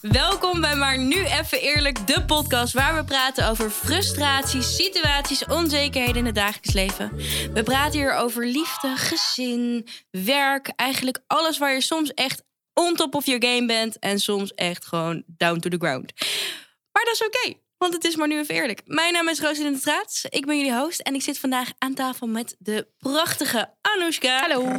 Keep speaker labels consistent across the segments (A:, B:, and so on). A: Welkom bij Maar Nu Even Eerlijk, de podcast waar we praten over frustraties, situaties, onzekerheden in het dagelijks leven. We praten hier over liefde, gezin, werk, eigenlijk alles waar je soms echt on top of your game bent en soms echt gewoon down to the ground. Maar dat is oké, want het is Maar Nu Even Eerlijk. Mijn naam is Roos in de Straats, ik ben jullie host en ik zit vandaag aan tafel met de prachtige Anoushka. Hallo.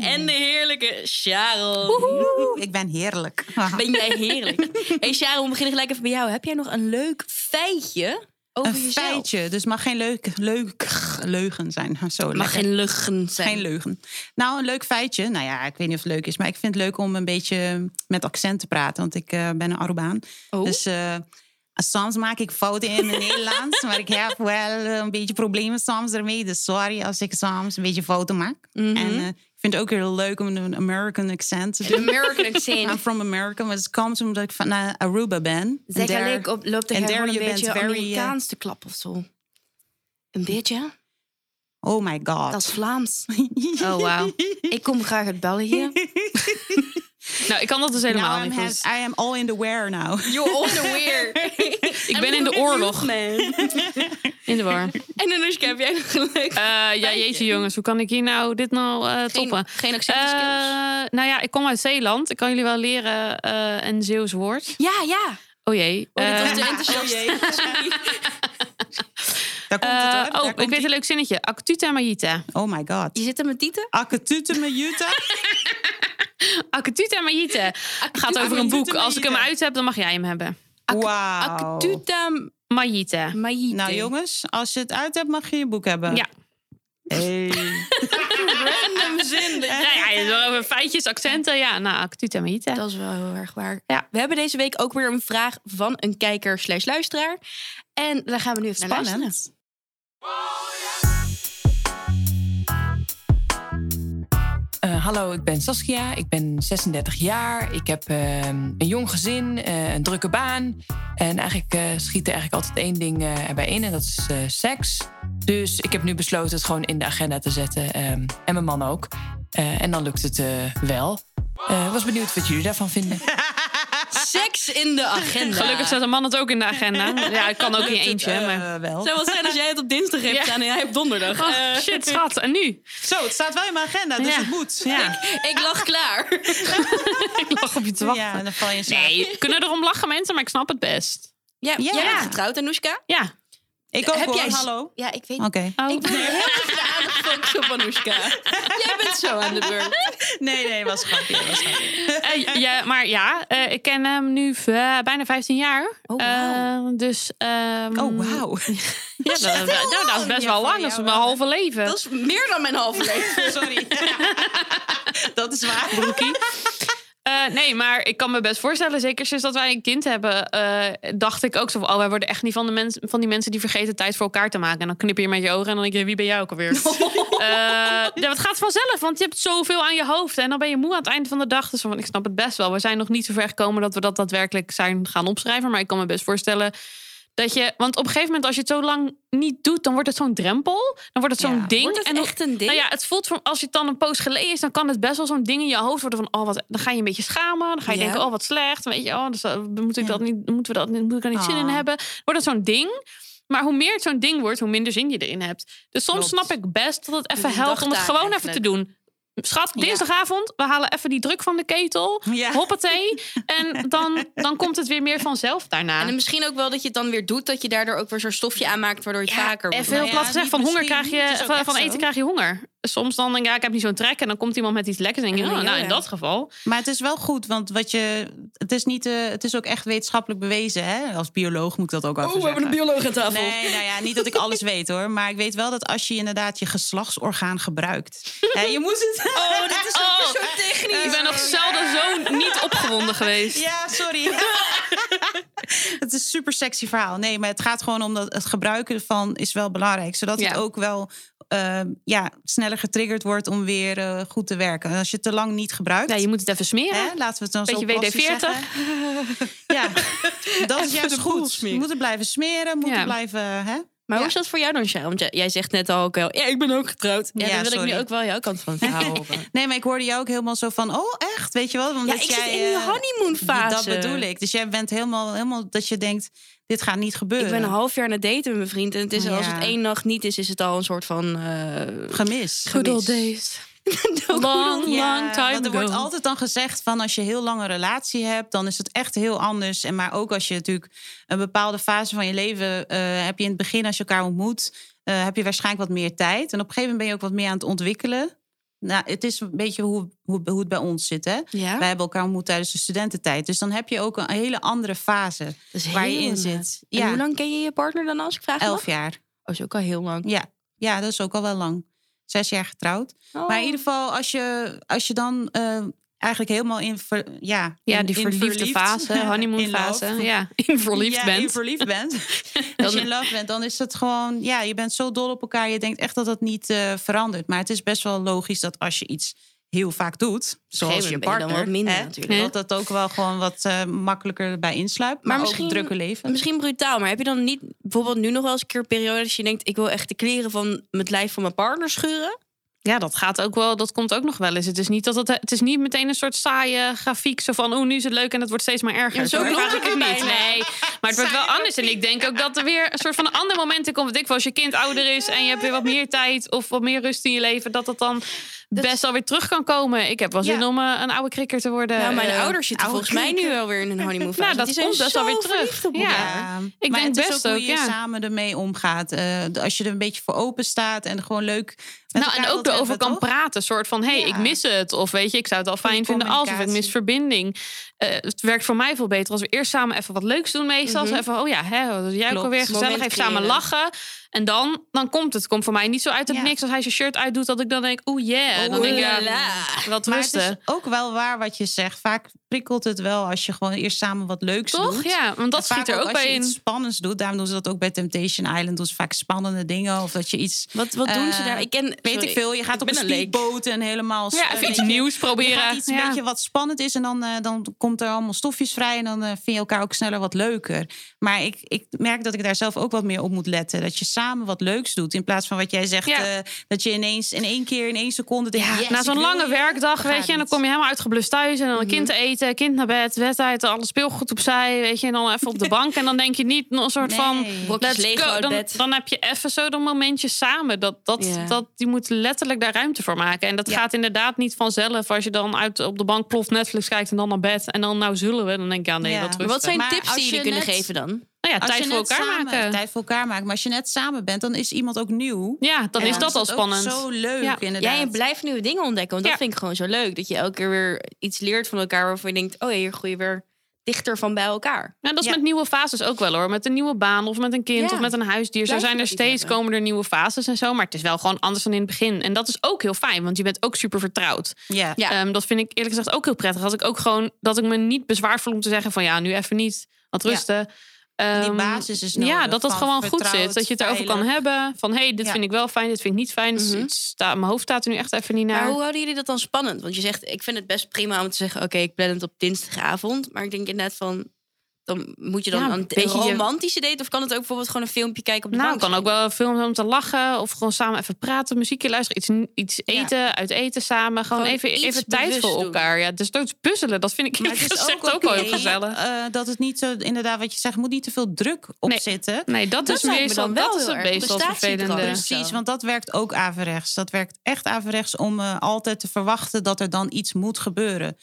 A: en de heerlijke Sharon.
B: Oeh, ik ben heerlijk.
A: Ben jij heerlijk. hey Sharon, we beginnen gelijk even bij jou. Heb jij nog een leuk feitje over
B: Een
A: jezelf?
B: feitje, dus mag geen leuk, leuk leugen zijn. Zo,
A: Mag
B: lekker.
A: geen luchten zijn.
B: Geen leugen. Nou, een leuk feitje. Nou ja, ik weet niet of het leuk is, maar ik vind het leuk om een beetje met accent te praten, want ik eh, ben een Arubaan.
A: Oh.
B: Dus eh, soms maak ik fouten in het Nederlands, maar ik heb wel een beetje problemen soms ermee. Dus sorry als ik soms een beetje fouten maak.
A: Mhm.
B: En eh, ik vind het ook heel leuk om een American accent te
A: De
B: doen.
A: American
B: I'm
A: accent.
B: from America, maar het komt omdat ik van naar Aruba ben. En
A: Zeg
B: daar-
A: alleen, op, loopt de
B: en
A: gewoon
B: daar
A: een
B: je bent
A: beetje
B: very, eh,
A: Amerikaans te klappen of zo. Een beetje?
B: Oh my god.
A: Dat is Vlaams. Oh, wauw. Ik kom graag uit België.
C: Nou, ik kan dat dus helemaal
B: Now I'm
C: niet.
B: has-
C: dus
B: I am all in the wear now.
A: You're on the weer.
C: ik ben in de oorlog. In de war.
A: En Anushka, heb jij nog een leuk
C: Eh, ja, jeetje jongens, hoe kan ik hier nou dit nou eh, toppen?
A: geen accentskills.
C: Eh, nou ja, ik kom uit Zeeland. Ik kan jullie wel leren eh, een Zeeuws woord.
A: Ja, ja.
C: Oh jee.
A: Oh, dit was
C: Eh,
A: te enthousiast.
B: Daar komt het
C: eh,
B: hoor. Daar
C: oh,
B: komt
C: ik weet een
B: ie.
C: leuk zinnetje. Actuta Mayita.
B: Oh my god.
A: Je zit er met Tieten?
B: Akatute mejuta.
C: Actuta Mayita. Gaat over een boek.
B: Mayita.
C: Als ik hem uit heb, dan mag jij hem hebben.
B: Wauw.
A: Actutam
C: Mayita.
A: Maïte.
B: Nou jongens, als je het uit hebt, mag je je boek hebben.
C: Ja.
B: Hey.
A: Random zin.
C: Nou ja, het is wel over feitjes, accenten. Ja, nou, Actuta Mayita.
A: Dat is wel heel erg waar.
C: Ja.
A: We hebben deze week ook weer een vraag van een kijker slash luisteraar. En daar gaan we nu even naar luisteren.
B: Spannend.
D: Eh, hallo, ik ben Saskia. Ik ben 36 jaar. Ik heb ehm, een jong gezin, eh, een drukke baan. En eigenlijk eh, schiet er eigenlijk altijd één ding eh, erbij in en dat is eh, seks. Dus ik heb nu besloten het gewoon in de agenda te zetten. ehm, en mijn man ook. Eh, en dan lukt het eh, wel. Eh was benieuwd wat jullie daarvan vinden.
A: Seks in de agenda.
C: Gelukkig zet een man het ook in de agenda. Ja, ik kan ook in je eentje.
B: Eh,
C: Maar...
B: wel.
A: zou wel zijn als jij het op dinsdag hebt
C: Ja.
A: staan en jij op donderdag. Eh,
C: Oh, shit, schat. En nu?
B: Zo, het staat wel in mijn agenda, dus
C: Ja.
B: het moet.
C: Ja.
A: Ik lag klaar.
C: Ik lag op je te wachten.
B: Ja, dan val je in slaap.
C: Nee, kunnen erom lachen mensen, maar ik snap het best.
A: Ja,
B: Ja.
A: Jij bent getrouwd, Anoushka?
C: Ja.
B: Ik ook
A: Heb
B: hoor,
A: jij-
B: hallo.
A: Ja, ik weet
B: Oké.
C: Oh.
A: Ik ben heel even de aandacht focus op Anoushka. Jij bent zo aan de beurt.
B: Nee, nee, was grappig. Was grappig.
C: Eh, ja, maar ja, eh, ik ken hem nu v- eh, bijna 15 jaar.
A: Oh, wauw.
C: Eh, dus. ehm,
B: Oh, wauw.
C: Ja, dat, dat- dat- nou, dat is best
B: Ja,
C: wel
B: voor
C: lang.
B: jou
C: Dat is mijn
B: wel, hè?
C: halve leven.
A: Dat is meer dan mijn halve leven.
B: Sorry. Dat is waar.
C: broekie. Eh, nee, maar ik kan me best voorstellen, zeker sinds dat wij een kind hebben, eh, dacht ik ook zo van, oh, wij worden echt niet van, de mens, van die mensen die vergeten tijd voor elkaar te maken. En dan knip je met je ogen en dan denk je, wie ben jij ook alweer? Eh, ja, het gaat vanzelf, want je hebt zoveel aan je hoofd en dan ben je moe aan het einde van de dag. Dus van, ik snap het best wel. We zijn nog niet zo ver gekomen dat we dat daadwerkelijk zijn gaan opschrijven, maar ik kan me best voorstellen dat je, want op een gegeven moment als je het zo lang niet doet, dan wordt het zo'n drempel, dan wordt het zo'n
B: Ja,
C: ding.
A: Wordt
C: en
A: het
C: dan-
A: echt een ding?
C: nou ja, het voelt van als je het dan een poos geleden is, dan kan het best wel zo'n ding in je hoofd worden van oh wat, dan ga je een beetje schamen, dan ga je
A: Ja.
C: denken oh wat slecht, weet je, oh dus eh, moet ik
B: Ja.
C: dat niet, moeten we dat niet, moet ik daar niet zin in
B: Ah.
C: hebben? Wordt het zo'n ding? Maar hoe meer het zo'n ding wordt, hoe minder zin je erin hebt. Dus soms
B: Klopt.
C: snap ik best dat het
A: is
C: even
A: een
C: helpt om het
A: dagtaak
C: gewoon even
A: eigenlijk.
C: te doen. Schat,
B: Ja.
C: dinsdagavond, we halen even die druk van de ketel.
B: Ja.
C: Hoppatee. En dan, dan komt het weer meer vanzelf daarna.
A: En dan misschien ook wel dat je het dan weer doet, dat je daardoor ook weer zo'n stofje aanmaakt, waardoor je het vaker wordt.
C: Even heel
B: Nou ja,
C: plat gezegd,
B: niet
C: van honger
B: misschien
C: krijg
B: niet, het
C: je,
B: is ook
C: van,
B: echt
C: van eten
B: zo.
C: krijg je honger. Soms dan denk ik, ja, ik heb niet zo'n trek. En dan komt iemand met iets lekkers. En denk je,
A: Ja,
C: oh, nou,
A: ja.
C: in dat geval.
B: Maar het is wel goed, want wat je, het, is niet, eh, het is ook echt wetenschappelijk bewezen. Hè? Als bioloog moet ik dat ook
A: Oh,
B: wel even zeggen.
A: bioloog aan tafel.
B: Nee, nou ja, niet dat ik alles weet hoor. Maar ik weet wel dat als je inderdaad je geslachtsorgaan gebruikt. Hè, je moet het.
A: Oh, dit is ook
C: Oh,
A: weer zo technisch.
C: ik ben nog zelden zo niet opgewonden geweest.
B: Ja, sorry. het is een super sexy verhaal. Nee, maar het gaat gewoon om dat het gebruiken van is wel belangrijk. Zodat
C: Ja.
B: het ook wel eh, ja, sneller getriggerd wordt om weer eh, goed te werken. En als je het te lang niet gebruikt.
C: Ja, je moet het even smeren.
B: Hè? Laten we het dan
C: Beetje
B: zo plastisch
C: WD-40.
B: zeggen. Ja, dat is juist goed. Je moet het blijven smeren, moet
C: Ja.
B: het blijven... Hè?
A: Maar hoe
D: Ja.
A: is dat voor jou dan, Sharon? Want jij- jij zegt net al ook wel, ja, ik ben ook getrouwd. Ja,
B: Ja,
A: dan wil
B: sorry.
A: ik nu ook wel jouw kant van het verhaal horen.
B: Nee, maar ik hoorde jou ook helemaal zo van, oh echt, weet je wel?
A: ja,
B: Omdat
A: ik
B: jij,
A: zit in die
B: eh,
A: honeymoon fase.
B: Dat bedoel ik. Dus jij bent helemaal, helemaal dat je denkt, dit gaat niet gebeuren.
A: Ik ben een half jaar aan het daten met mijn vriend. En het is, als
B: Ja.
A: het één nacht niet is, is het al een soort van... eh
B: Gemis.
A: Good old
C: days.
A: Ook
C: Long,
B: Ja,
C: long time
B: want er
C: ago.
B: wordt altijd dan gezegd van als je heel lang een relatie hebt, dan is het echt heel anders. En maar ook als je natuurlijk een bepaalde fase van je leven eh, heb je in het begin als je elkaar ontmoet, eh, heb je waarschijnlijk wat meer tijd. En op een gegeven moment ben je ook wat meer aan het ontwikkelen. Nou, het is een beetje hoe, hoe, hoe het bij ons zit, hè?
A: Ja,
B: Wij hebben elkaar ontmoet tijdens de studententijd. Dus dan heb je ook een hele andere fase
A: dat is
B: waar je
A: heel
B: in
A: lang.
B: zit.
A: En hoe
B: Ja,
A: lang ken je je partner dan als ik vraag?
B: elf jaar.
A: Oh, is ook al heel lang.
B: Ja. ja, dat is ook al wel lang. Zes jaar getrouwd.
A: Oh.
B: Maar in ieder geval, als je, als je dan eh, eigenlijk helemaal in... ver- ja,
C: Ja,
B: in-
C: die
B: in
C: verliefde
B: verliefd-
C: fase, honeymoon
B: in love.
C: fase. Ja, in verliefd
B: ja, in
C: bent.
B: verliefd bent. als
C: Dan-
B: je in love bent, dan is het gewoon... Ja, je bent zo dol op elkaar. Je denkt echt dat dat niet eh, verandert. Maar het is best wel logisch dat als je iets heel vaak doet... Zoals je
A: gegeven moment ben je dan
B: partner,
A: wat minder
B: hè,
A: natuurlijk.
B: dat dat ook wel gewoon wat eh, makkelijker bij insluipt. Maar,
A: misschien-
B: ook het drukke leven.
A: Misschien brutaal, maar heb je dan niet bijvoorbeeld nu nog wel eens een keer periode dat je denkt: ik wil echt de kleren van het lijf van mijn partner schuren?
C: Ja, dat gaat ook wel. Dat komt ook nog wel eens. Het is niet dat het, het is niet meteen een soort saaie grafiek. Zo van, oh, nu is het leuk en het wordt steeds maar erger.
A: Ja, zo
C: Zover
A: klonk
C: vaak
A: het
C: ik niet.
A: bijna.
C: Nee, maar het wordt wel anders. En ik denk ook dat er weer een soort van ander momenten komt. Want ik wel, als je kind ouder is en je hebt weer wat meer tijd of wat meer rust in je leven, dat dat dan best alweer terug kan komen. Ik heb wel zin
B: Ja.
C: om eh, een oude krikker te worden.
A: nou, mijn
C: Eh,
A: ouders zitten
B: oude
A: volgens mij nu wel weer in een honeymoon fase.
C: Nou, dat
A: Die zijn
C: komt best
A: zo
C: wel weer terug.
A: verliefd op
C: Ja.
A: elkaar.
B: Ja,
C: Ik
B: maar
C: denk
B: het is
C: best
B: ook hoe
C: ook,
B: je
C: ja.
B: samen ermee omgaat. Eh, d- als je er een beetje voor open staat en gewoon leuk. Met
C: Nou, en
B: elkaar
C: ook
B: wilt
C: erover
B: hebben,
C: kan
B: toch?
C: praten. soort van, hey,
B: Ja.
C: ik mis het. Of weet je, ik zou het al
B: Goede
C: fijn vinden als. Of ik mis
B: communicatie.
C: verbinding. Eh, het werkt voor mij veel beter als we eerst samen even wat leuks doen meestal.
B: Mhm.
C: Zo Even, oh ja, hè, wat doe jij ook
A: Klopt,
C: alweer gezellig.
A: moment
C: Even samen
A: creëren.
C: lachen. En dan, dan komt het. Komt voor mij niet zo uit het
B: Ja.
C: niks. Als hij zijn shirt uitdoet, dat ik dan denk, oeh yeah. En Oh, dan
A: Oeh,
C: denk ik, ja,
A: la. dus
C: wat
B: Maar het is
C: rusten.
B: ook wel waar wat je zegt. Vaak prikkelt het wel als je gewoon eerst samen wat leuks
C: Toch?
B: doet.
C: Ja, want dat
B: En vaak
C: schiet er ook,
B: als
C: bij
B: je
C: in.
B: iets spannends doet. Daarom doen ze dat ook bij Temptation Island. Doen ze vaak spannende dingen. Of dat je iets,
A: Wat, wat doen ze
B: Eh,
A: daar? Ik ken,
B: weet
A: sorry,
B: ik veel. Je gaat op
A: ben
B: een
A: een leek.
B: speedboot en helemaal...
C: Ja,
B: eh,
C: even iets
B: weet je,
C: nieuws
B: Je gaat
C: proberen.
B: iets
C: ja.
B: een beetje wat spannend is en dan, eh, dan komt er allemaal stofjes vrij en dan eh, vind je elkaar ook sneller wat leuker. Maar ik, ik merk dat ik daar zelf ook wat meer op moet letten. Dat je samen wat leuks doet in plaats van wat jij zegt.
C: Ja.
B: eh, dat je ineens in één keer in één seconde denkt. yes,
C: Na
B: ik
C: zo'n
B: wil
C: lange
B: hier.
C: werkdag,
B: Dat
C: weet
B: gaat Mhm.
C: je, en dan
B: niet.
C: kom je helemaal uitgeblust thuis. En dan kind eten, kind naar bed, wedstrijd, alles speelgoed opzij, weet je. En dan even op de bank. En dan denk je niet nog een soort van...
B: Nee.
A: Brokjes
C: let's
A: Lego
C: go.
A: uit
C: Dan,
A: bed.
C: dan heb je even zo dat momentje samen. Dat, dat,
A: Ja.
C: dat, je moet letterlijk daar ruimte voor maken. En dat
B: Ja.
C: gaat inderdaad niet vanzelf. Als je dan uit, op de bank ploft, Netflix kijkt en dan naar bed. En dan nou zullen we. Dan denk je, ja nee,
B: Ja.
C: dat
B: Maar
A: Wat zijn
B: Maar
A: tips
B: als
A: die
B: je
A: jullie kunnen
B: net-
A: geven dan?
C: Nou ja,
B: Als
C: tijd
B: je
C: voor
B: net
C: elkaar
B: samen-
C: maken.
B: Tijd voor elkaar maken. Maar als je net samen bent, dan is iemand ook nieuw.
C: Ja, dan
B: En
C: is dat al
B: het ook
C: spannend.
B: Zo leuk,
C: Ja.
B: inderdaad.
A: Ja, je blijft nieuwe dingen ontdekken. Want dat
C: Ja.
A: vind ik gewoon zo leuk. Dat je elke keer weer iets leert van elkaar waarvan je denkt: oh ja, hier groeien we weer dichter van bij elkaar.
C: Nou, dat is
B: Ja.
C: met nieuwe fases ook wel hoor. Met een nieuwe baan of met een kind
A: Ja.
C: of met een huisdier. Zo
A: Blijf
C: zijn
A: je
C: er
A: dat niet
C: steeds
A: hebben.
C: komen er nieuwe fases en zo. Maar het is wel gewoon anders dan in het begin. En dat is ook heel fijn, want je bent ook super vertrouwd.
B: Ja.
A: Ja.
C: Ehm, dat vind ik eerlijk gezegd ook heel prettig. Als ik ook gewoon dat ik me niet bezwaar voel om te zeggen van ja, nu even niet. Wat
B: Ja.
C: rusten.
B: Die
C: Ehm,
B: basis is
C: ja,
B: nodig
C: dat dat
B: van
C: gewoon goed
B: vertrouwd,
C: zit. Dat je het erover kan
B: veilig.
C: hebben. Van hé, hey, dit
B: Ja.
C: vind ik wel fijn, dit vind ik niet fijn. Dus
A: Mhm.
C: het staat, mijn hoofd staat er nu echt even niet naar.
A: Maar hoe houden jullie dat dan spannend? Want je zegt, ik vind het best prima om te zeggen... oké, ik plan het op dinsdagavond. Maar ik denk inderdaad van... dan moet je dan
C: Ja,
A: aan
C: een
A: een
C: beetje je-
A: romantische date... of kan het ook bijvoorbeeld gewoon een filmpje kijken op de
C: Nou,
A: bank
C: kan
A: zijn?
C: ook wel een film om te lachen. Of gewoon samen even praten, muziekje luisteren. Iets, iets
B: Ja.
C: eten, uit eten samen. Gewoon,
A: Gewoon
C: even,
A: iets
C: even tijd
A: bewust
C: voor
A: doen.
C: elkaar. Ja, dus doods puzzelen, dat vind ik
B: Maar
C: eerlijk
B: het is
C: gezegd
B: ook,
C: ook, wel heel
B: oké,
C: gezellig.
B: eh, dat het niet zo, inderdaad, wat je zegt, moet niet te veel druk op
C: Nee.
B: zitten.
C: Nee, dat,
A: dat
C: is
A: lijkt me
C: meestal,
A: dan wel
C: dat is
A: heel
C: het
A: erg
C: meestal het
A: prestatiedrang.
C: vervelende.
A: Dus-
B: Precies,
A: zo.
B: want dat werkt ook averechts. Dat werkt echt averechts om eh, altijd te verwachten dat er dan iets moet gebeuren.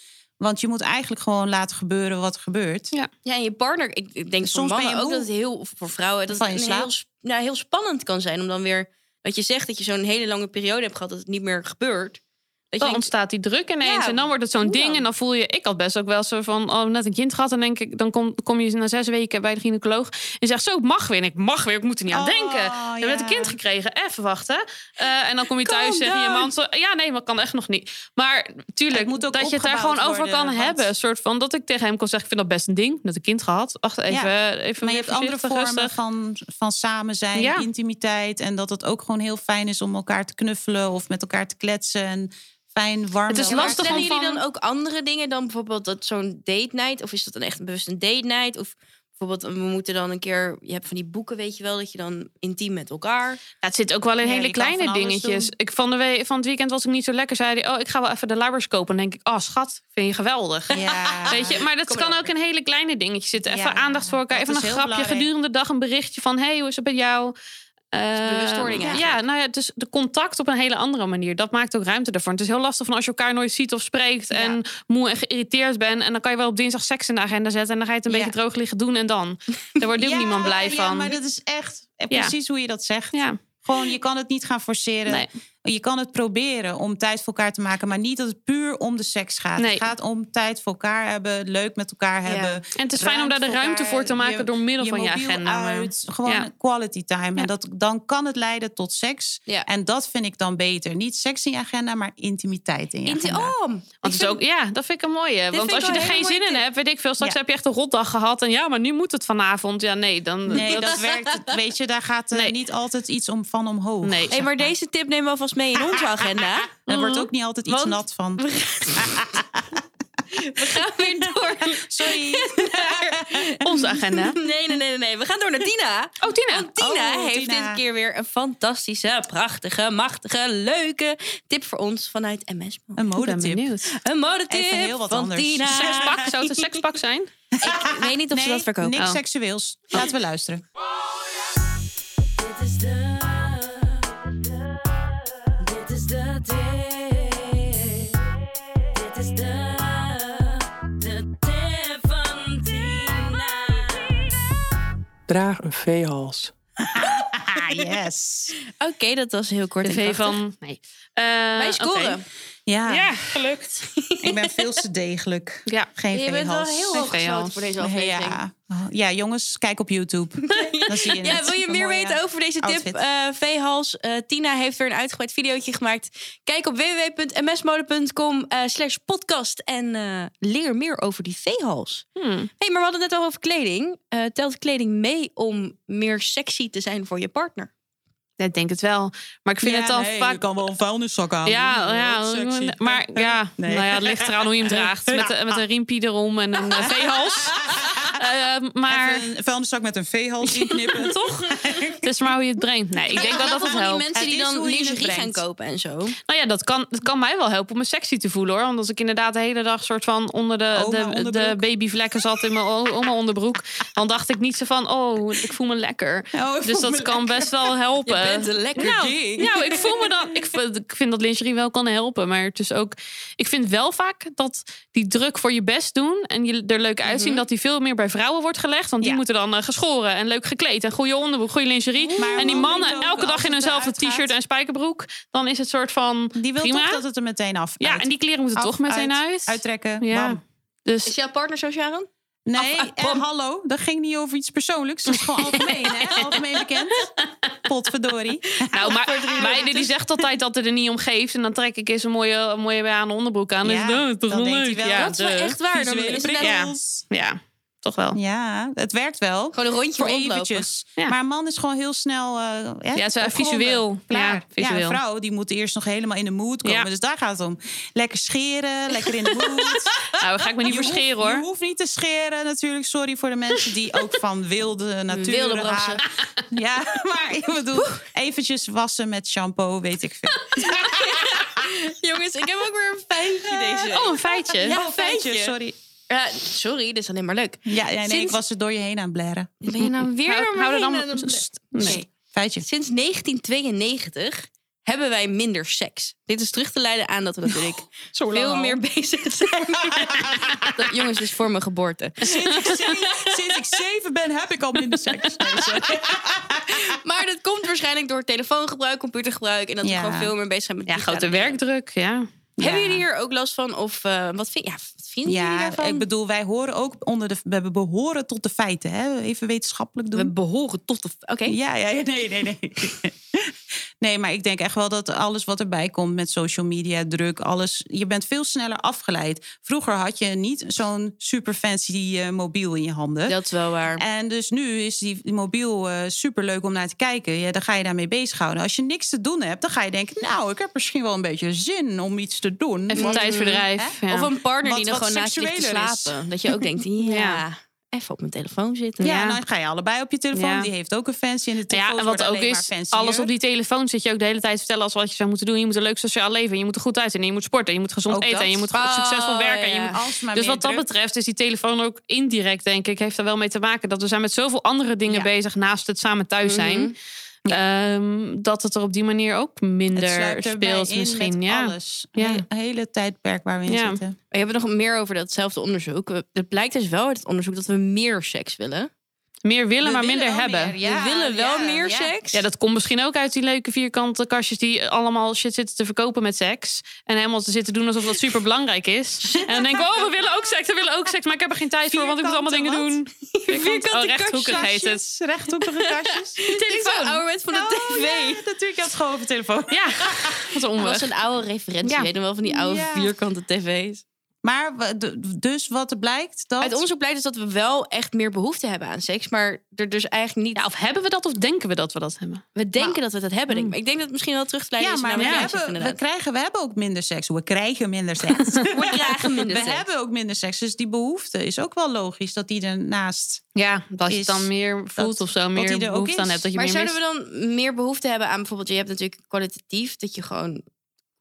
B: Want je moet eigenlijk gewoon laten gebeuren wat gebeurt.
C: Ja.
A: Ja, en je partner... Ik ik denk
B: Soms
A: voor
B: ben je
A: mannen ook
B: moe.
A: dat het heel... of voor vrouwen, dat
B: Van
A: het
B: je
A: een
B: slaap.
A: heel, sp- nou, heel spannend kan zijn... om dan weer... wat je zegt, dat je zo'n hele lange periode hebt gehad... dat het niet meer gebeurt. Dat je
C: Dan
A: denkt,
C: ontstaat die druk ineens.
A: Ja,
C: en dan wordt het zo'n
A: hoe
C: ding.
A: dan?
C: En dan voel je, ik had best ook wel zo van, oh, net een kind gehad. En denk ik, dan kom, kom je na zes weken bij de gynaecoloog. En zegt, zo, ik mag weer. En ik mag weer, ik moet er niet aan
B: Oh,
C: denken. Ik heb net
B: ja.
C: een kind gekregen, even wachten. Eh, en dan kom je
A: Calm
C: thuis, zeg je je
A: down.
C: man, zo, ja, nee, maar kan echt nog niet. Maar tuurlijk,
B: Het moet ook
C: dat je het daar
B: opgebouwd
C: gewoon over
B: worden,
C: kan
B: want-
C: hebben. Een soort van, dat ik tegen hem kon zeggen, ik vind dat best een ding. Net een kind gehad. Wacht even, even
B: Maar je
C: weer
B: hebt andere
C: voorzichtig,
B: vormen
C: rustig.
B: van, van samen zijn,
C: Ja.
B: intimiteit. En dat het ook gewoon heel fijn is om elkaar te knuffelen of met elkaar te kletsen. En fijn, warm.
C: Het is
B: bij
A: Maar
B: elkaar
C: lastig
B: te
A: plannen
C: om
A: jullie
C: van-
A: dan ook andere dingen dan bijvoorbeeld dat zo'n date night? Of is dat dan echt bewust een date night? Of Bijvoorbeeld, we moeten dan een keer... Je hebt van die boeken, weet je wel, dat je dan intiem met elkaar...
C: Ja, het zit ook wel in
B: Ja,
C: hele
B: je kan
C: kleine
B: van alles
C: dingetjes.
B: doen.
C: Ik, van, de we- van het weekend was ik niet zo lekker. Zei hij, oh, ik ga wel even de luiers kopen. Dan denk ik, oh schat, vind je geweldig.
B: Ja.
C: Weet je, maar dat kan ook in hele kleine dingetjes zitten. Even
B: Ja,
C: aandacht voor elkaar.
B: dat
C: Even een
B: is heel
C: grapje.
B: belangrijk.
C: Gedurende de dag een berichtje van... hey, hoe is het met jou? Eh,
A: bewustwording
C: ja,
A: eigenlijk.
C: nou ja, dus de contact op een hele andere manier. Dat maakt ook ruimte daarvoor. Het is heel lastig van als je elkaar nooit ziet of spreekt... en moe en geïrriteerd bent... en dan kan je wel op dinsdag seks in de agenda zetten... en dan ga je het een
B: Ja.
C: beetje droog liggen doen en dan. Daar wordt ook
B: Ja,
C: niemand
B: Ja,
C: blij van.
B: maar dat is echt eh,
C: Ja.
B: precies hoe je dat zegt.
C: Ja,
B: Gewoon, je kan het niet gaan forceren.
C: nee.
B: Je kan het proberen om tijd voor elkaar te maken, maar niet dat het puur om de seks gaat.
C: Nee.
B: Het gaat om tijd voor elkaar hebben, leuk met elkaar hebben.
C: En het is fijn om daar de
B: Ruimte voor
C: ruimte voor te
B: elkaar,
C: maken... door middel
B: je
C: van je
B: mobiel
C: agenda. maar-
B: Uit, gewoon
C: Ja.
B: quality time.
C: Ja.
B: En dat, dan kan het leiden tot seks.
A: Ja.
B: En dat vind ik dan beter. Niet seks in je agenda, maar intimiteit in je
A: Inti-
B: agenda.
A: oh, ik
C: Want het is
A: vind-
C: ook, ja, dat vind ik een mooie. Want
A: vind
C: als
A: ik
C: je er
A: wel een
C: geen
A: hele
C: zin
A: mooie
C: in
A: tip.
C: hebt, weet ik veel, straks
B: Ja.
C: heb je echt een rotdag gehad. En ja, maar nu moet het vanavond. Ja, nee, dan.
B: Nee, dat werkt. Weet je, daar gaat eh,
C: Nee.
B: niet altijd iets om van omhoog.
C: Nee. Oh.
A: Hey, maar deze tip nemen we alvast mee in onze agenda.
B: Daar wordt ook niet altijd iets
A: Want-
B: nat van.
A: We gaan weer door.
B: Ehm, Sorry.
C: Onze agenda.
A: Nee, nee, nee, nee, nee. We gaan door naar Tina.
C: Oh, Tina.
A: Want Tina
B: Oh,
A: heeft
B: Tina.
A: dit keer weer een fantastische, prachtige, machtige, leuke tip voor ons vanuit MS. Mode.
B: Een modetip.
C: benieuwd.
A: Een modetip
B: Even heel wat
A: van
B: anders.
A: Tina.
C: Sekspak, zou het een sekspak zijn?
A: Ik weet niet of ze dat verkopen.
B: niks
C: Oh.
B: seksueels. Laten we luisteren.
A: Dit is de. Dit is de tip. Dit is de. De tip van Tina.
D: Draag een veehals.
B: Ah, yes.
A: Oké, dat was heel kort.
C: De
A: en
C: V
A: krachtig.
C: van. Nee. Eh,
A: Wij scoren.
C: oké.
B: Ja,
C: Ja, gelukt.
B: ik ben veel te degelijk.
C: Ja.
B: Geen
A: Je bent wel
B: veehals.
A: heel
C: Geen
A: hoog geschoten
C: veehals.
A: voor deze
B: Nee,
A: aflevering.
B: Ja. Oh, ja, jongens, kijk op YouTube. Dan zie je
A: Ja,
B: het.
A: wil je
B: Een
A: meer
B: mooie-
A: weten over deze tip?
B: outfit.
A: eh V-Hals, eh, Tina heeft er een uitgebreid videootje gemaakt. Kijk op www.msmode.com eh, slash podcast en eh, leer meer over die V-Hals.
C: Hmm.
A: hey, maar we hadden het net al over kleding. Eh, telt kleding mee om meer sexy te zijn voor je partner?
C: Ik denk het wel. Maar ik vind
B: Ja,
C: het dan
B: nee,
C: vaak.
B: Je kan wel een vuilniszak aan.
C: Ja, ja, maar ja,
B: Nee.
C: nou ja, het ligt eraan hoe je hem draagt. Met, eh, met een riempie erom en een eh, veehals. Eh, maar
B: Maar... Een vuilniszak met een veehals inknippen.
C: toch? Het is maar hoe je het brengt. Nee, ik denk wel dat het
A: van die
C: helpt.
A: mensen
B: Het
A: die
B: is
A: dan
B: hoe je het
A: lingerie gaan
B: brengt.
A: kopen en zo.
C: Nou ja, dat kan, dat kan mij wel helpen om me sexy te voelen hoor. Want als ik inderdaad de hele dag soort van onder de,
B: Oh, mijn
C: de,
B: onderbroek.
C: de babyvlekken zat in mijn, o- om mijn onderbroek. Dan dacht ik niet zo van, oh, ik voel me lekker.
B: Oh, ik
C: dus
B: voel
C: dat
B: me
C: kan best wel helpen.
A: Je bent een lekker
C: nou,
A: ding.
C: Nou, ik voel me dan. Ik, v- ik vind dat lingerie wel kan helpen. Maar het is ook. Ik vind wel vaak dat die druk voor je best doen en je er leuk uitzien, dat die veel meer bij vrouwen wordt gelegd. Want
B: Mhm.
C: die
B: Ja.
C: moeten dan eh, geschoren en leuk gekleed en goede onderbroek, goede lingerie.
B: Maar
C: en die
B: mannen
C: mannen
B: ook,
C: elke
B: als
C: dag in
B: het
C: hunzelfde
B: eruit
C: t-shirt
B: gaat.
C: en spijkerbroek. Dan is het soort van.
B: Die wil
C: prima.
B: toch dat het er meteen af
C: Ja,
B: uit-
C: en die kleren moeten
B: af-
C: toch meteen uit.
B: Uittrekken.
C: Ja.
B: bam.
A: Is
C: Dus
A: jouw partner zo, Sharon?
B: Nee,
A: Af-
B: en
A: bam.
B: hallo, dat ging niet over iets persoonlijks. Dat is gewoon algemeen, hè? Algemeen bekend. Potverdorie.
C: nou, maar meiden die zegt altijd dat het er niet om geeft. En dan trek ik eens een mooie, een mooie bij aan onderbroek aan.
B: Ja,
C: dus, nou, dat is toch
B: dan
C: wel
B: denkt hij wel,
C: leuk. ja,
A: dat is wel
C: duh.
A: echt waar. Dan
B: Visuele
A: is het net-
B: prikkels.
C: Ja, toch wel.
B: Ja, het werkt wel.
A: Gewoon een rondje
B: Voor
A: rondlopen.
B: eventjes.
C: Ja.
B: Maar een man is gewoon heel snel... eh, hè,
C: Ja, zo
B: opgewonden.
C: visueel.
B: Klaar.
C: Ja, visueel.
B: Ja, een vrouw die moet eerst nog helemaal in de mood komen.
C: Ja.
B: Dus daar gaat het om. Lekker scheren, lekker in de mood.
C: Nou, daar ga ik me niet
B: Je hoeft-
C: verscheren hoor.
B: Je hoeft niet te scheren natuurlijk. Sorry voor de mensen die ook van wilde natuur
A: Wilde brassen.
B: houden. Ja, maar ik bedoel, eventjes wassen met shampoo, weet ik veel.
A: Jongens, ik heb ook weer een feitje deze week.
C: Oh, een feitje.
A: Ja.
B: Oh, feitje,
A: feitje.
B: Sorry.
A: Ja, sorry, dit is alleen maar leuk.
B: Ja, ja nee, ik
A: Sinds-
B: was er door je heen aan het blaren. Dus
A: Ben je nou weer
C: Hou-
A: door
C: hou
A: mij
C: er dan-
A: heen aan het-
C: Sst,
A: Nee.
B: Feitje.
A: Sinds 1992 hebben wij minder seks. Dit is terug te leiden aan dat we natuurlijk
B: Zo
A: veel meer bezig zijn. Dat- jongens, dit is voor mijn geboorte.
B: Sinds ik, zeven, sinds ik zeven ben, heb ik al minder seks. Nee, sorry.
A: Maar dat komt waarschijnlijk door telefoongebruik, computergebruik... en dat
B: Ja.
A: we gewoon veel meer bezig zijn met
C: Ja,
A: digitale
C: grote
A: dingen.
C: werkdruk. Ja.
A: Hebben
B: Ja.
A: jullie hier ook last van? Of eh, wat, vind, ja, wat vinden jullie
B: Ja,
A: daarvan?
B: ik bedoel, wij horen ook onder de. We behoren tot de feiten, hè? Even wetenschappelijk doen.
A: we behoren tot de... Oké.
B: Ja, ja, ja, nee, nee, nee. Nee, maar ik denk echt wel dat alles wat erbij komt met social media, druk, alles. Je bent veel sneller afgeleid. Vroeger had je niet zo'n super fancy eh, mobiel in je handen.
A: Dat is wel waar.
B: En dus nu is die die mobiel eh super leuk om naar te kijken. Ja, dan ga je daarmee bezighouden. Als je niks te doen hebt, dan ga je denken: Nou, ik heb misschien wel een beetje zin om iets te doen.
C: Even
B: Want-
C: tijdverdrijf. Ja.
A: Of een partner
B: Wat-
A: die dan
B: wat
A: gewoon naast je ligt te
B: seksueler is.
A: slapen. Dat je ook denkt, ja...
C: Ja.
A: even op mijn telefoon zitten.
B: Ja,
C: Ja.
B: en dan ga je allebei op je telefoon.
C: Ja.
B: Die heeft ook een fancy. En de
C: Nou
B: telefoon
C: ja, en wat ook is, alles op die telefoon zit je ook de hele tijd vertellen als wat je zou moeten doen. Je moet een leuk sociaal leven, en je moet er goed uitzien, en je moet sporten, en je moet gezond
B: Ook
C: eten, en je
B: dat. Ah,
C: moet goed succesvol
A: Oh,
C: werken. en je
A: ja.
C: moet-
B: Als maar
C: Dus wat dat betreft is die telefoon ook indirect, denk ik, heeft er wel mee te maken dat we zijn met zoveel andere dingen
B: Ja.
C: bezig naast het samen thuis zijn.
A: Mhm.
C: ehm, dat het er op die manier ook minder speelt misschien. Ja.
B: Alles.
C: Ja.
B: Een hele tijdperk waar we in
C: Ja.
B: zitten.
A: We hebben nog meer over datzelfde onderzoek. We- Het blijkt dus wel uit het onderzoek dat we meer seks willen.
C: Meer willen,
B: We
C: maar
B: willen
C: minder
B: wel
C: hebben.
B: meer, ja,
A: we willen wel
B: ja,
A: meer
B: ja.
A: seks.
C: Ja, dat komt misschien ook uit die leuke vierkante kastjes die allemaal shit zitten te verkopen met seks. En helemaal te zitten doen alsof dat super belangrijk is. En dan denken we, oh, we willen ook seks, we willen ook seks, maar ik heb er geen tijd voor, want ik moet allemaal dingen
B: Vierkante
C: doen.
A: Vierkante
C: oh, rechthoekig heet het.
B: Kastjes, Rechthoekige kastjes.
A: telefoon. ouderwets van de
B: Oh,
A: tv.
B: ja, natuurlijk, je had gewoon over telefoon.
C: Ja, wat een
A: Dat
C: onweg.
A: was een oude referentie,
C: Ja.
A: weet je wel, van die oude
B: Ja.
A: vierkante tv's.
B: Maar we- d- dus wat er blijkt, dat...
A: Uit onderzoek blijkt dus dat we wel echt meer behoefte hebben aan seks, maar er dus eigenlijk niet.
C: Ja, of hebben we dat of denken we dat we dat hebben?
A: we denken dat we dat hebben, denk ik. Maar Hmm. ik denk dat het misschien wel terug te leiden
B: ja,
A: is
B: maar
A: naar
B: we,
A: wat jij zegt,
B: hebben, we,
A: inderdaad.
B: krijgen, we hebben ook minder seks. We krijgen minder seks.
A: We krijgen minder
B: we
A: seks.
B: hebben ook minder seks. Dus die behoefte is ook wel logisch dat die ernaast...
C: Ja, dat je het
B: Is
C: dan meer voelt
B: dat-
C: of zo,
B: die
C: meer
B: er ook
C: behoefte aan
B: is.
C: hebt. Dat je
A: Maar
C: meer
A: zouden
C: mist.
A: we dan meer behoefte hebben aan bijvoorbeeld, je hebt natuurlijk kwalitatief, dat je gewoon,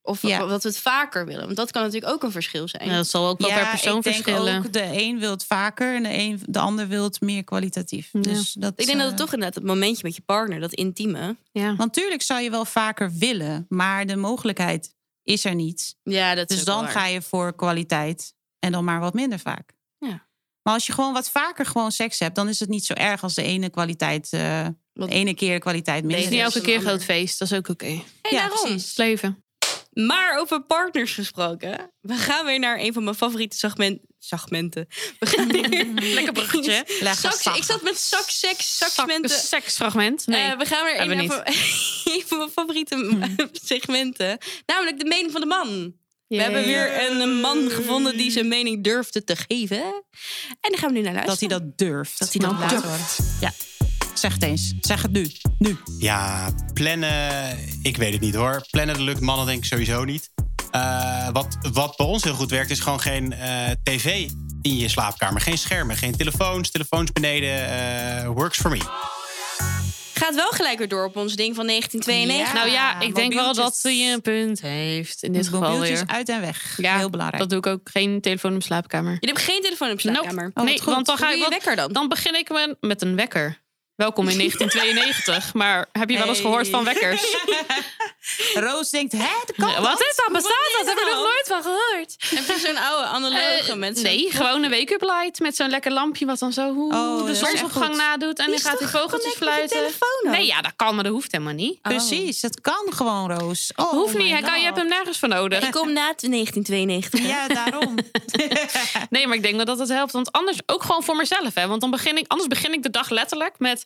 A: of
B: Ja.
A: wat we het vaker willen. Want dat kan natuurlijk ook een verschil zijn.
C: Ja, dat zal ook wel per persoon
B: ik denk
C: verschillen.
B: ook de een wil het vaker en de, een, de ander wil het meer kwalitatief.
C: Ja.
B: Dus dat,
A: ik denk dat het
B: eh,
A: toch inderdaad dat momentje met je partner, dat intieme.
C: Ja.
B: Want natuurlijk zou je wel vaker willen, maar de mogelijkheid is er niet.
A: Ja, dat
B: Dus dan ga je voor kwaliteit en dan maar wat minder vaak.
A: Ja.
B: Maar als je gewoon wat vaker gewoon seks hebt, dan is het niet zo erg als de ene kwaliteit, eh,
A: Wat-
B: de ene keer kwaliteit
A: Nee,
C: Het is
B: minder.
A: dat is
B: is.
C: niet elke
A: een
C: keer
A: ander.
C: groot feest, dat is ook oké.
A: ja,
B: Ja,
A: daarom.
B: precies.
C: Het is leven.
A: Maar over partners gesproken. We gaan weer naar een van mijn favoriete segment, segmenten. We gaan weer...
C: Lekker bruggetje.
B: Leg
A: Saks-
B: zacht.
A: ik zat met sakseks,
C: Een
A: saksmenten.
C: seksfragment. Nee.
A: Eh, we gaan weer
C: hebben
A: een
C: we
A: van, een van mijn favoriete segmenten. Namelijk de mening van de man. We hebben weer eh, een man gevonden die zijn mening durfde te geven. En daar gaan we nu naar
B: dat hij
A: luisteren.
B: dat durft.
A: Dat hij dat
B: Laat
A: durft.
B: horen. Ja. Zeg het eens. Zeg het nu. Nu.
E: Ja, plannen. Ik weet het niet hoor. Plannen dat lukt mannen denk ik sowieso niet. Eh, wat, wat bij ons heel goed werkt, is gewoon geen eh, tv in je slaapkamer. Geen schermen, geen telefoons. Telefoons beneden. eh, works for me.
A: Gaat wel gelijk weer door op ons ding van 1992.
C: nou ja,
B: Ah,
C: ik denk wel dat
B: mobieltjes.
C: hij een punt heeft. In dit geval
B: Mobieltjes
C: weer.
B: uit en weg.
C: Ja,
B: Heel belangrijk.
C: Dat doe ik ook. Geen telefoon in de slaapkamer.
A: Jullie hebben geen telefoon op slaapkamer. Oh,
C: Nope.
B: wat
C: nee,
B: goed.
C: want dan ga
A: Doe
C: ik
A: je
C: wat-
A: wekker dan?
C: Dan begin ik met- met een wekker. Welkom in 1992. maar heb je wel eens gehoord van wekkers?
B: Roos denkt, hè, dat kan
C: Eh,
B: dat?
C: Wat is dat? Bestaat dat? Heb ik nog nooit van gehoord.
A: Heb je zo'n oude analoge
C: Eh,
A: mensen?
C: nee, gewoon een wake-up light met zo'n lekker lampje wat dan zo hoe
B: Oh, dat
C: de
B: is echt
C: zonsopgang
B: goed.
C: nadoet. En dan gaat die vogeltjes fluiten. Nee, ja, dat kan, maar dat hoeft helemaal niet.
B: Precies, dat kan gewoon, Roos. Oh,
C: Hoeft
B: my
C: niet, hij kan, je
B: God.
C: hebt hem nergens voor nodig.
A: Ik kom na het 1992.
B: Ja, daarom.
C: Nee, maar ik denk wel dat dat helpt. Want anders ook gewoon voor mezelf. Hè? Want dan begin ik, anders begin ik de dag letterlijk met.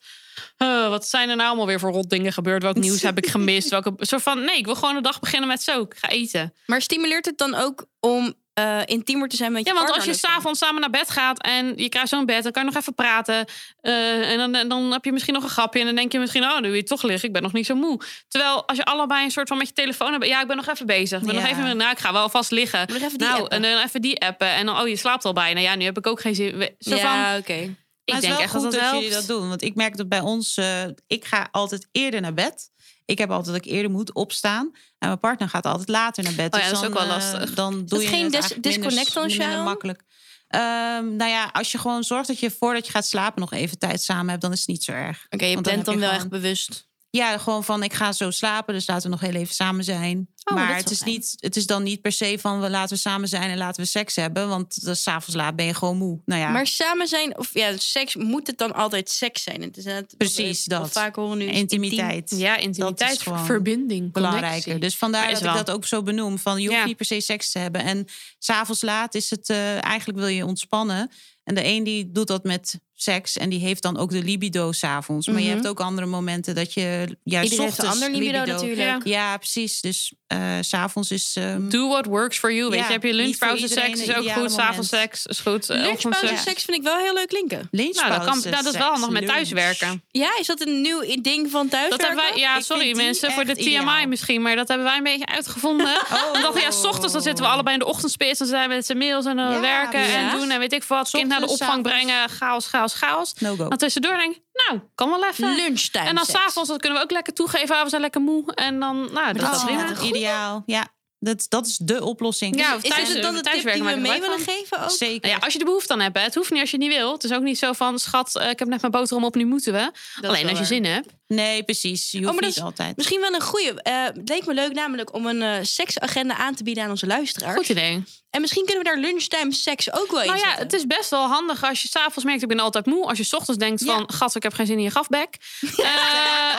C: eh, wat zijn er nou allemaal weer voor rot dingen gebeurd? Welk nieuws heb ik gemist? Welke soort van. Nee, ik wil gewoon de dag beginnen met zo. Ik ga eten.
A: Maar stimuleert het dan ook om eh, intiemer te zijn met je
C: Ja, want als
A: partner
B: dus
C: je
A: natuurlijk?
C: s'avonds samen naar bed gaat en je krijgt zo'n bed, dan kan je nog even praten. eh, en dan, en dan heb je misschien nog een grapje. En dan denk je misschien, oh, nu wil je toch liggen. Ik ben nog niet zo moe. Terwijl als je allebei een soort van met je telefoon hebt. Ja, ik ben nog even bezig. Ik ben nog
B: Ja.
C: even. Nou, ik ga wel vast liggen.
A: Moet ik even die
C: Nou,
A: appen?
C: en dan even die appen. En dan, oh, je slaapt al bijna. Ja, nu heb ik ook geen zin. We- Zo van,
A: Ja, oké.
C: ik
B: Maar het
C: denk
B: is
C: echt
B: wel goed
C: dat dat
B: dat,
C: helpt.
B: jullie dat doen. Want ik merk dat bij ons... eh, ik ga altijd eerder naar bed. Ik heb altijd dat ik eerder moet opstaan. En mijn partner gaat altijd later naar bed.
C: Oh ja,
B: Dus
C: dat is
B: dan,
C: ook wel
B: eh,
C: lastig.
B: Dan doe
A: dat
B: je
A: geen
B: het
A: dis-
B: eigenlijk minder-
A: disconnect dan,
B: minder
A: Sharon?
B: makkelijk. Ehm, nou ja, als je gewoon zorgt dat je voordat je gaat slapen... nog even tijd samen hebt, dan is het niet zo erg.
A: Oké, je
B: Want dan
A: bent
B: heb
A: dan
B: je
A: wel echt
B: gewoon-
A: bewust.
B: Ja, gewoon van ik ga zo slapen, dus laten we nog heel even samen zijn.
A: Oh, dat
B: maar
A: is
B: het
A: wel
B: is,
A: fijn.
B: niet, het is dan niet per se van we laten we samen zijn en laten we seks hebben. Want eh, 's avonds laat ben je gewoon moe. Nou ja,
A: Maar samen zijn, of ja, seks, moet het dan altijd seks zijn? Het is net,
B: Precies dat.
A: Vaak horen we nu is intiem.
B: intimiteit.
C: Ja,
B: Dat
C: intimiteit,
B: is gewoon
C: verbinding,
B: Belangrijker.
C: connectie.
B: Dus vandaar
C: Maar is
B: dat ik
C: wel.
B: dat ook zo benoem. Van je hoeft
C: Ja.
B: niet per se seks te hebben. En s'avonds laat is het eh, eigenlijk wil je ontspannen. En de een die doet dat met seks en die heeft dan ook de libido s'avonds. Maar je
A: Mhm.
B: hebt ook andere momenten dat je juist
A: Iedereen heeft een
B: ochtends
A: ander libido, natuurlijk.
C: Ja.
B: Ja, precies. Dus eh, s s'avonds is... ehm,
C: Do what works for you. Weet
B: Ja,
C: je, heb je
B: niet voor
C: lunchpauze
B: iedereen
C: seks is
B: het
C: ook
B: ideale
C: goed.
B: moment.
C: S'avonds seks is goed. eh,
A: Lunchpauze
C: ochtends seks.
A: seks vind ik wel heel leuk klinken.
C: Nou, dat, kan,
B: lunchpauze,
C: nou, dat is wel
B: seks,
C: handig met
B: lunch.
C: thuiswerken.
A: Ja, is dat een nieuw ding van thuis?
C: Dat hebben wij, ja,
B: Ik
C: sorry
B: vind die
C: mensen voor de
B: echt
C: TMI
B: ideaal.
C: misschien, maar dat hebben wij een beetje uitgevonden.
B: Oh.
C: We dachten, ja, s ochtends dan zitten we allebei in de ochtendspits. Dan zijn we met z'n mails en dan
B: Ja,
C: werken
A: ja.
C: en doen en weet ik veel wat. Kind naar de
B: Ochtends,
C: opvang brengen, chaos, chaos, chaos.
B: No go.
C: Dan tussendoor denk ik, nou, kan wel even.
A: Lunchtijd.
C: en dan s'avonds, dat kunnen we ook lekker toegeven. ah, we zijn lekker moe. En dan, nou, dat
A: dat
C: is
A: is
C: prima.
A: inderdaad goed.
B: Oh, ideaal. Ja, dat, dat is de oplossing.
C: Ja,
B: Dus
C: of
A: Is
C: thuis-
A: het dan de tip die
C: thuiswerken
A: we
C: maken
A: mee
C: wij
A: willen
C: van.
A: geven ook?
B: zeker.
C: Nou ja, als je de behoefte aan hebt. hè. Het hoeft niet als je het niet wilt. Het is ook niet zo van, schat, eh, ik heb net mijn boterham op, nu moeten we. Alleen
A: wel
C: als je
A: waar.
C: zin hebt.
B: Nee, precies. Je
C: Oh,
B: hoeft
A: maar dat
B: niet
A: is-
B: altijd.
A: Misschien wel een goede. het leek me leuk namelijk om een eh, seksagenda aan te bieden aan onze luisteraars.
C: Goed idee.
A: En misschien kunnen we daar lunchtime seks ook wel in
C: Nou ja,
A: zetten.
C: het is best wel handig als je s'avonds merkt, ik ben altijd moe. Als je 's ochtends denkt van, gat, ik heb geen zin in je gafbek. Eh,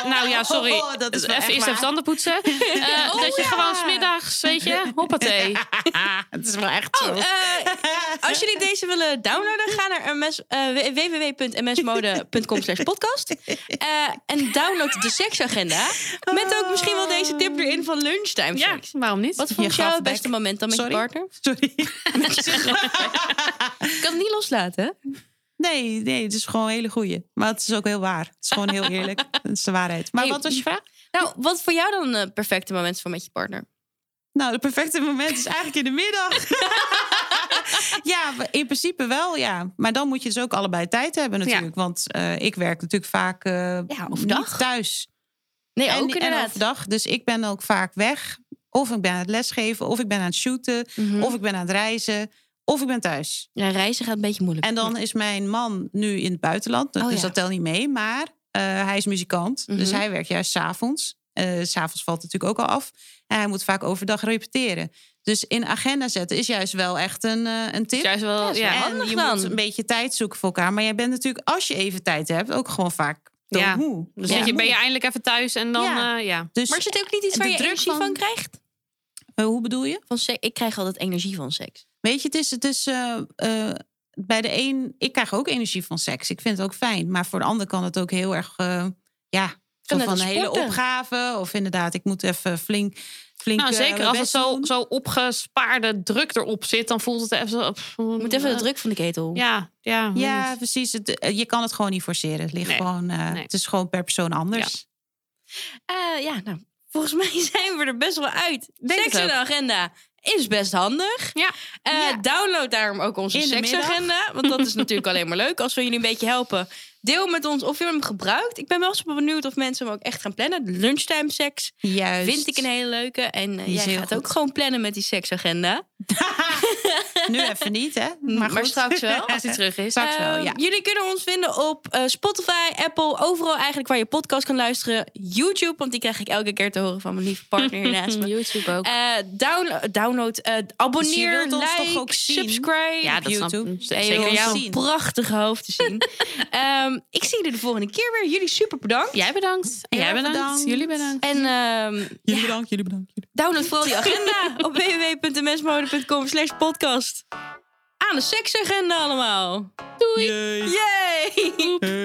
C: nou ja, sorry.
B: Oh, dat is wel
C: even
B: echt
C: eerst even
B: waar.
C: tanden poetsen. Eh,
A: Oh,
C: dat je
A: ja.
C: gewoon smiddags, weet je, hoppatee.
B: het is wel echt zo.
A: Oh, eh, als jullie deze willen downloaden, ga naar ms, eh, w- www.msmode.com slash podcast. Eh, en download de seksagenda. Met ook misschien wel deze tip erin van lunchtime
C: Ja,
A: seks.
C: waarom niet?
A: Wat vond jij
B: gaf
A: het
B: back.
A: beste moment dan met
B: Sorry?
A: je partner?
B: Sorry.
A: Ik kan het niet loslaten, hè?
B: Nee, nee, het is gewoon een hele goeie. Maar het is ook heel waar. Het is gewoon heel eerlijk. Het is de waarheid. Maar
A: Hey,
B: wat was je vraag?
A: Nou, wat voor jou dan het perfecte moment van met je partner?
B: Nou, het perfecte moment is eigenlijk in de middag. ja, in principe wel, ja. Maar dan moet je dus ook allebei tijd hebben natuurlijk. Want eh, ik werk natuurlijk vaak eh
A: overdag.
B: niet thuis.
A: Nee,
B: en,
A: ook
B: en
A: inderdaad.
B: overdag. Dus ik ben ook vaak weg. Of ik ben aan het lesgeven, of ik ben aan het shooten,
A: Mhm.
B: of ik ben aan het reizen, of ik ben thuis.
A: Ja, reizen gaat een beetje moeilijk.
B: En dan is mijn man nu in het buitenland,
A: Oh,
B: dus
A: ja.
B: dat telt niet mee. Maar eh, hij is muzikant, dus
A: Mhm.
B: hij werkt juist s'avonds. Eh s'avonds valt het natuurlijk ook al af. En hij moet vaak overdag repeteren. Dus in agenda zetten is juist wel echt een, eh, een tip.
C: Juist wel, ja.
A: wel-
B: en
A: handig
B: je
A: dan.
B: moet een beetje tijd zoeken voor elkaar. Maar jij bent natuurlijk, als je even tijd hebt, ook gewoon vaak
C: Ja.
B: doodmoe.
C: Dus
B: Ja.
C: weet je, ben je eindelijk even thuis en dan,
B: Ja.
C: eh, ja.
B: Dus
A: Maar is het ook niet iets waar
B: de
A: je
B: druk
A: energie van,
B: van-
A: krijgt?
B: eh, hoe bedoel je?
A: Van seks- ik krijg altijd energie van seks.
B: Weet je, het is, het is eh, eh, bij de een, ik krijg ook energie van seks. Ik vind het ook fijn. Maar voor de ander kan het ook heel erg, eh, ja, zo
A: net
B: van
A: als
B: een hele
A: sporten.
B: opgave. Of inderdaad, ik moet even flink, flink.
C: Nou,
B: eh,
C: zeker
B: mijn
C: als het
B: best
C: zo,
B: doen.
C: zo opgespaarde druk erop zit, dan voelt het even zo... pff,
A: Moet even de druk van de ketel.
C: Mm, eh, Ja, ja.
B: Ja, precies. Het, eh, je kan het gewoon niet forceren. Het ligt
C: Nee.
B: gewoon, eh,
C: Nee.
B: het is gewoon per persoon anders.
A: Eh, ja, nou, volgens mij zijn we er best wel uit.
C: Denk
A: Seks
C: het
A: in de agenda is best handig.
C: Ja.
A: Eh,
B: Ja.
A: Download daarom ook onze
B: In de middag.
A: seksagenda. Want dat is natuurlijk alleen maar leuk. Als we jullie een beetje helpen, deel met ons of je hem gebruikt. Ik ben wel eens benieuwd of mensen hem ook echt gaan plannen. De Lunchtime seks
B: Juist.
A: vind ik een hele leuke. En eh,
B: Die is
A: jij
B: heel
A: gaat
B: goed.
A: ook gewoon plannen met die seksagenda.
B: Nu even niet, hè?
A: Maar,
B: Maar, goed.
A: straks wel.
C: Als hij terug is.
B: Straks wel,
A: Ehm,
B: ja.
A: Jullie kunnen ons vinden op eh, Spotify, Apple, overal eigenlijk waar je podcast kan luisteren. YouTube, want die krijg ik elke keer te horen van mijn lieve partner hier naast me.
C: YouTube ook.
A: Eh, download, download eh, abonneer,
B: Dus wilt ons
A: like,
B: toch ook zien?
A: subscribe.
C: ja, dat
B: YouTube.
C: snap
A: En
C: ik.
A: je
C: Zeker
A: wilt
C: jou.
A: ons prachtige hoofd te zien. Ehm, ik zie jullie de volgende keer weer. Jullie super bedankt.
C: Jij bedankt. En
B: Heel
C: jij
B: erg
C: bedankt.
B: bedankt.
C: Jullie bedankt.
A: En ehm,
B: Jullie bedankt, jullie bedankt. jullie
A: download vooral die agenda op www.mensmode.com slash podcast. Aan de seksagenda allemaal.
B: bedankt. Yay.
A: Yay!
B: Hey.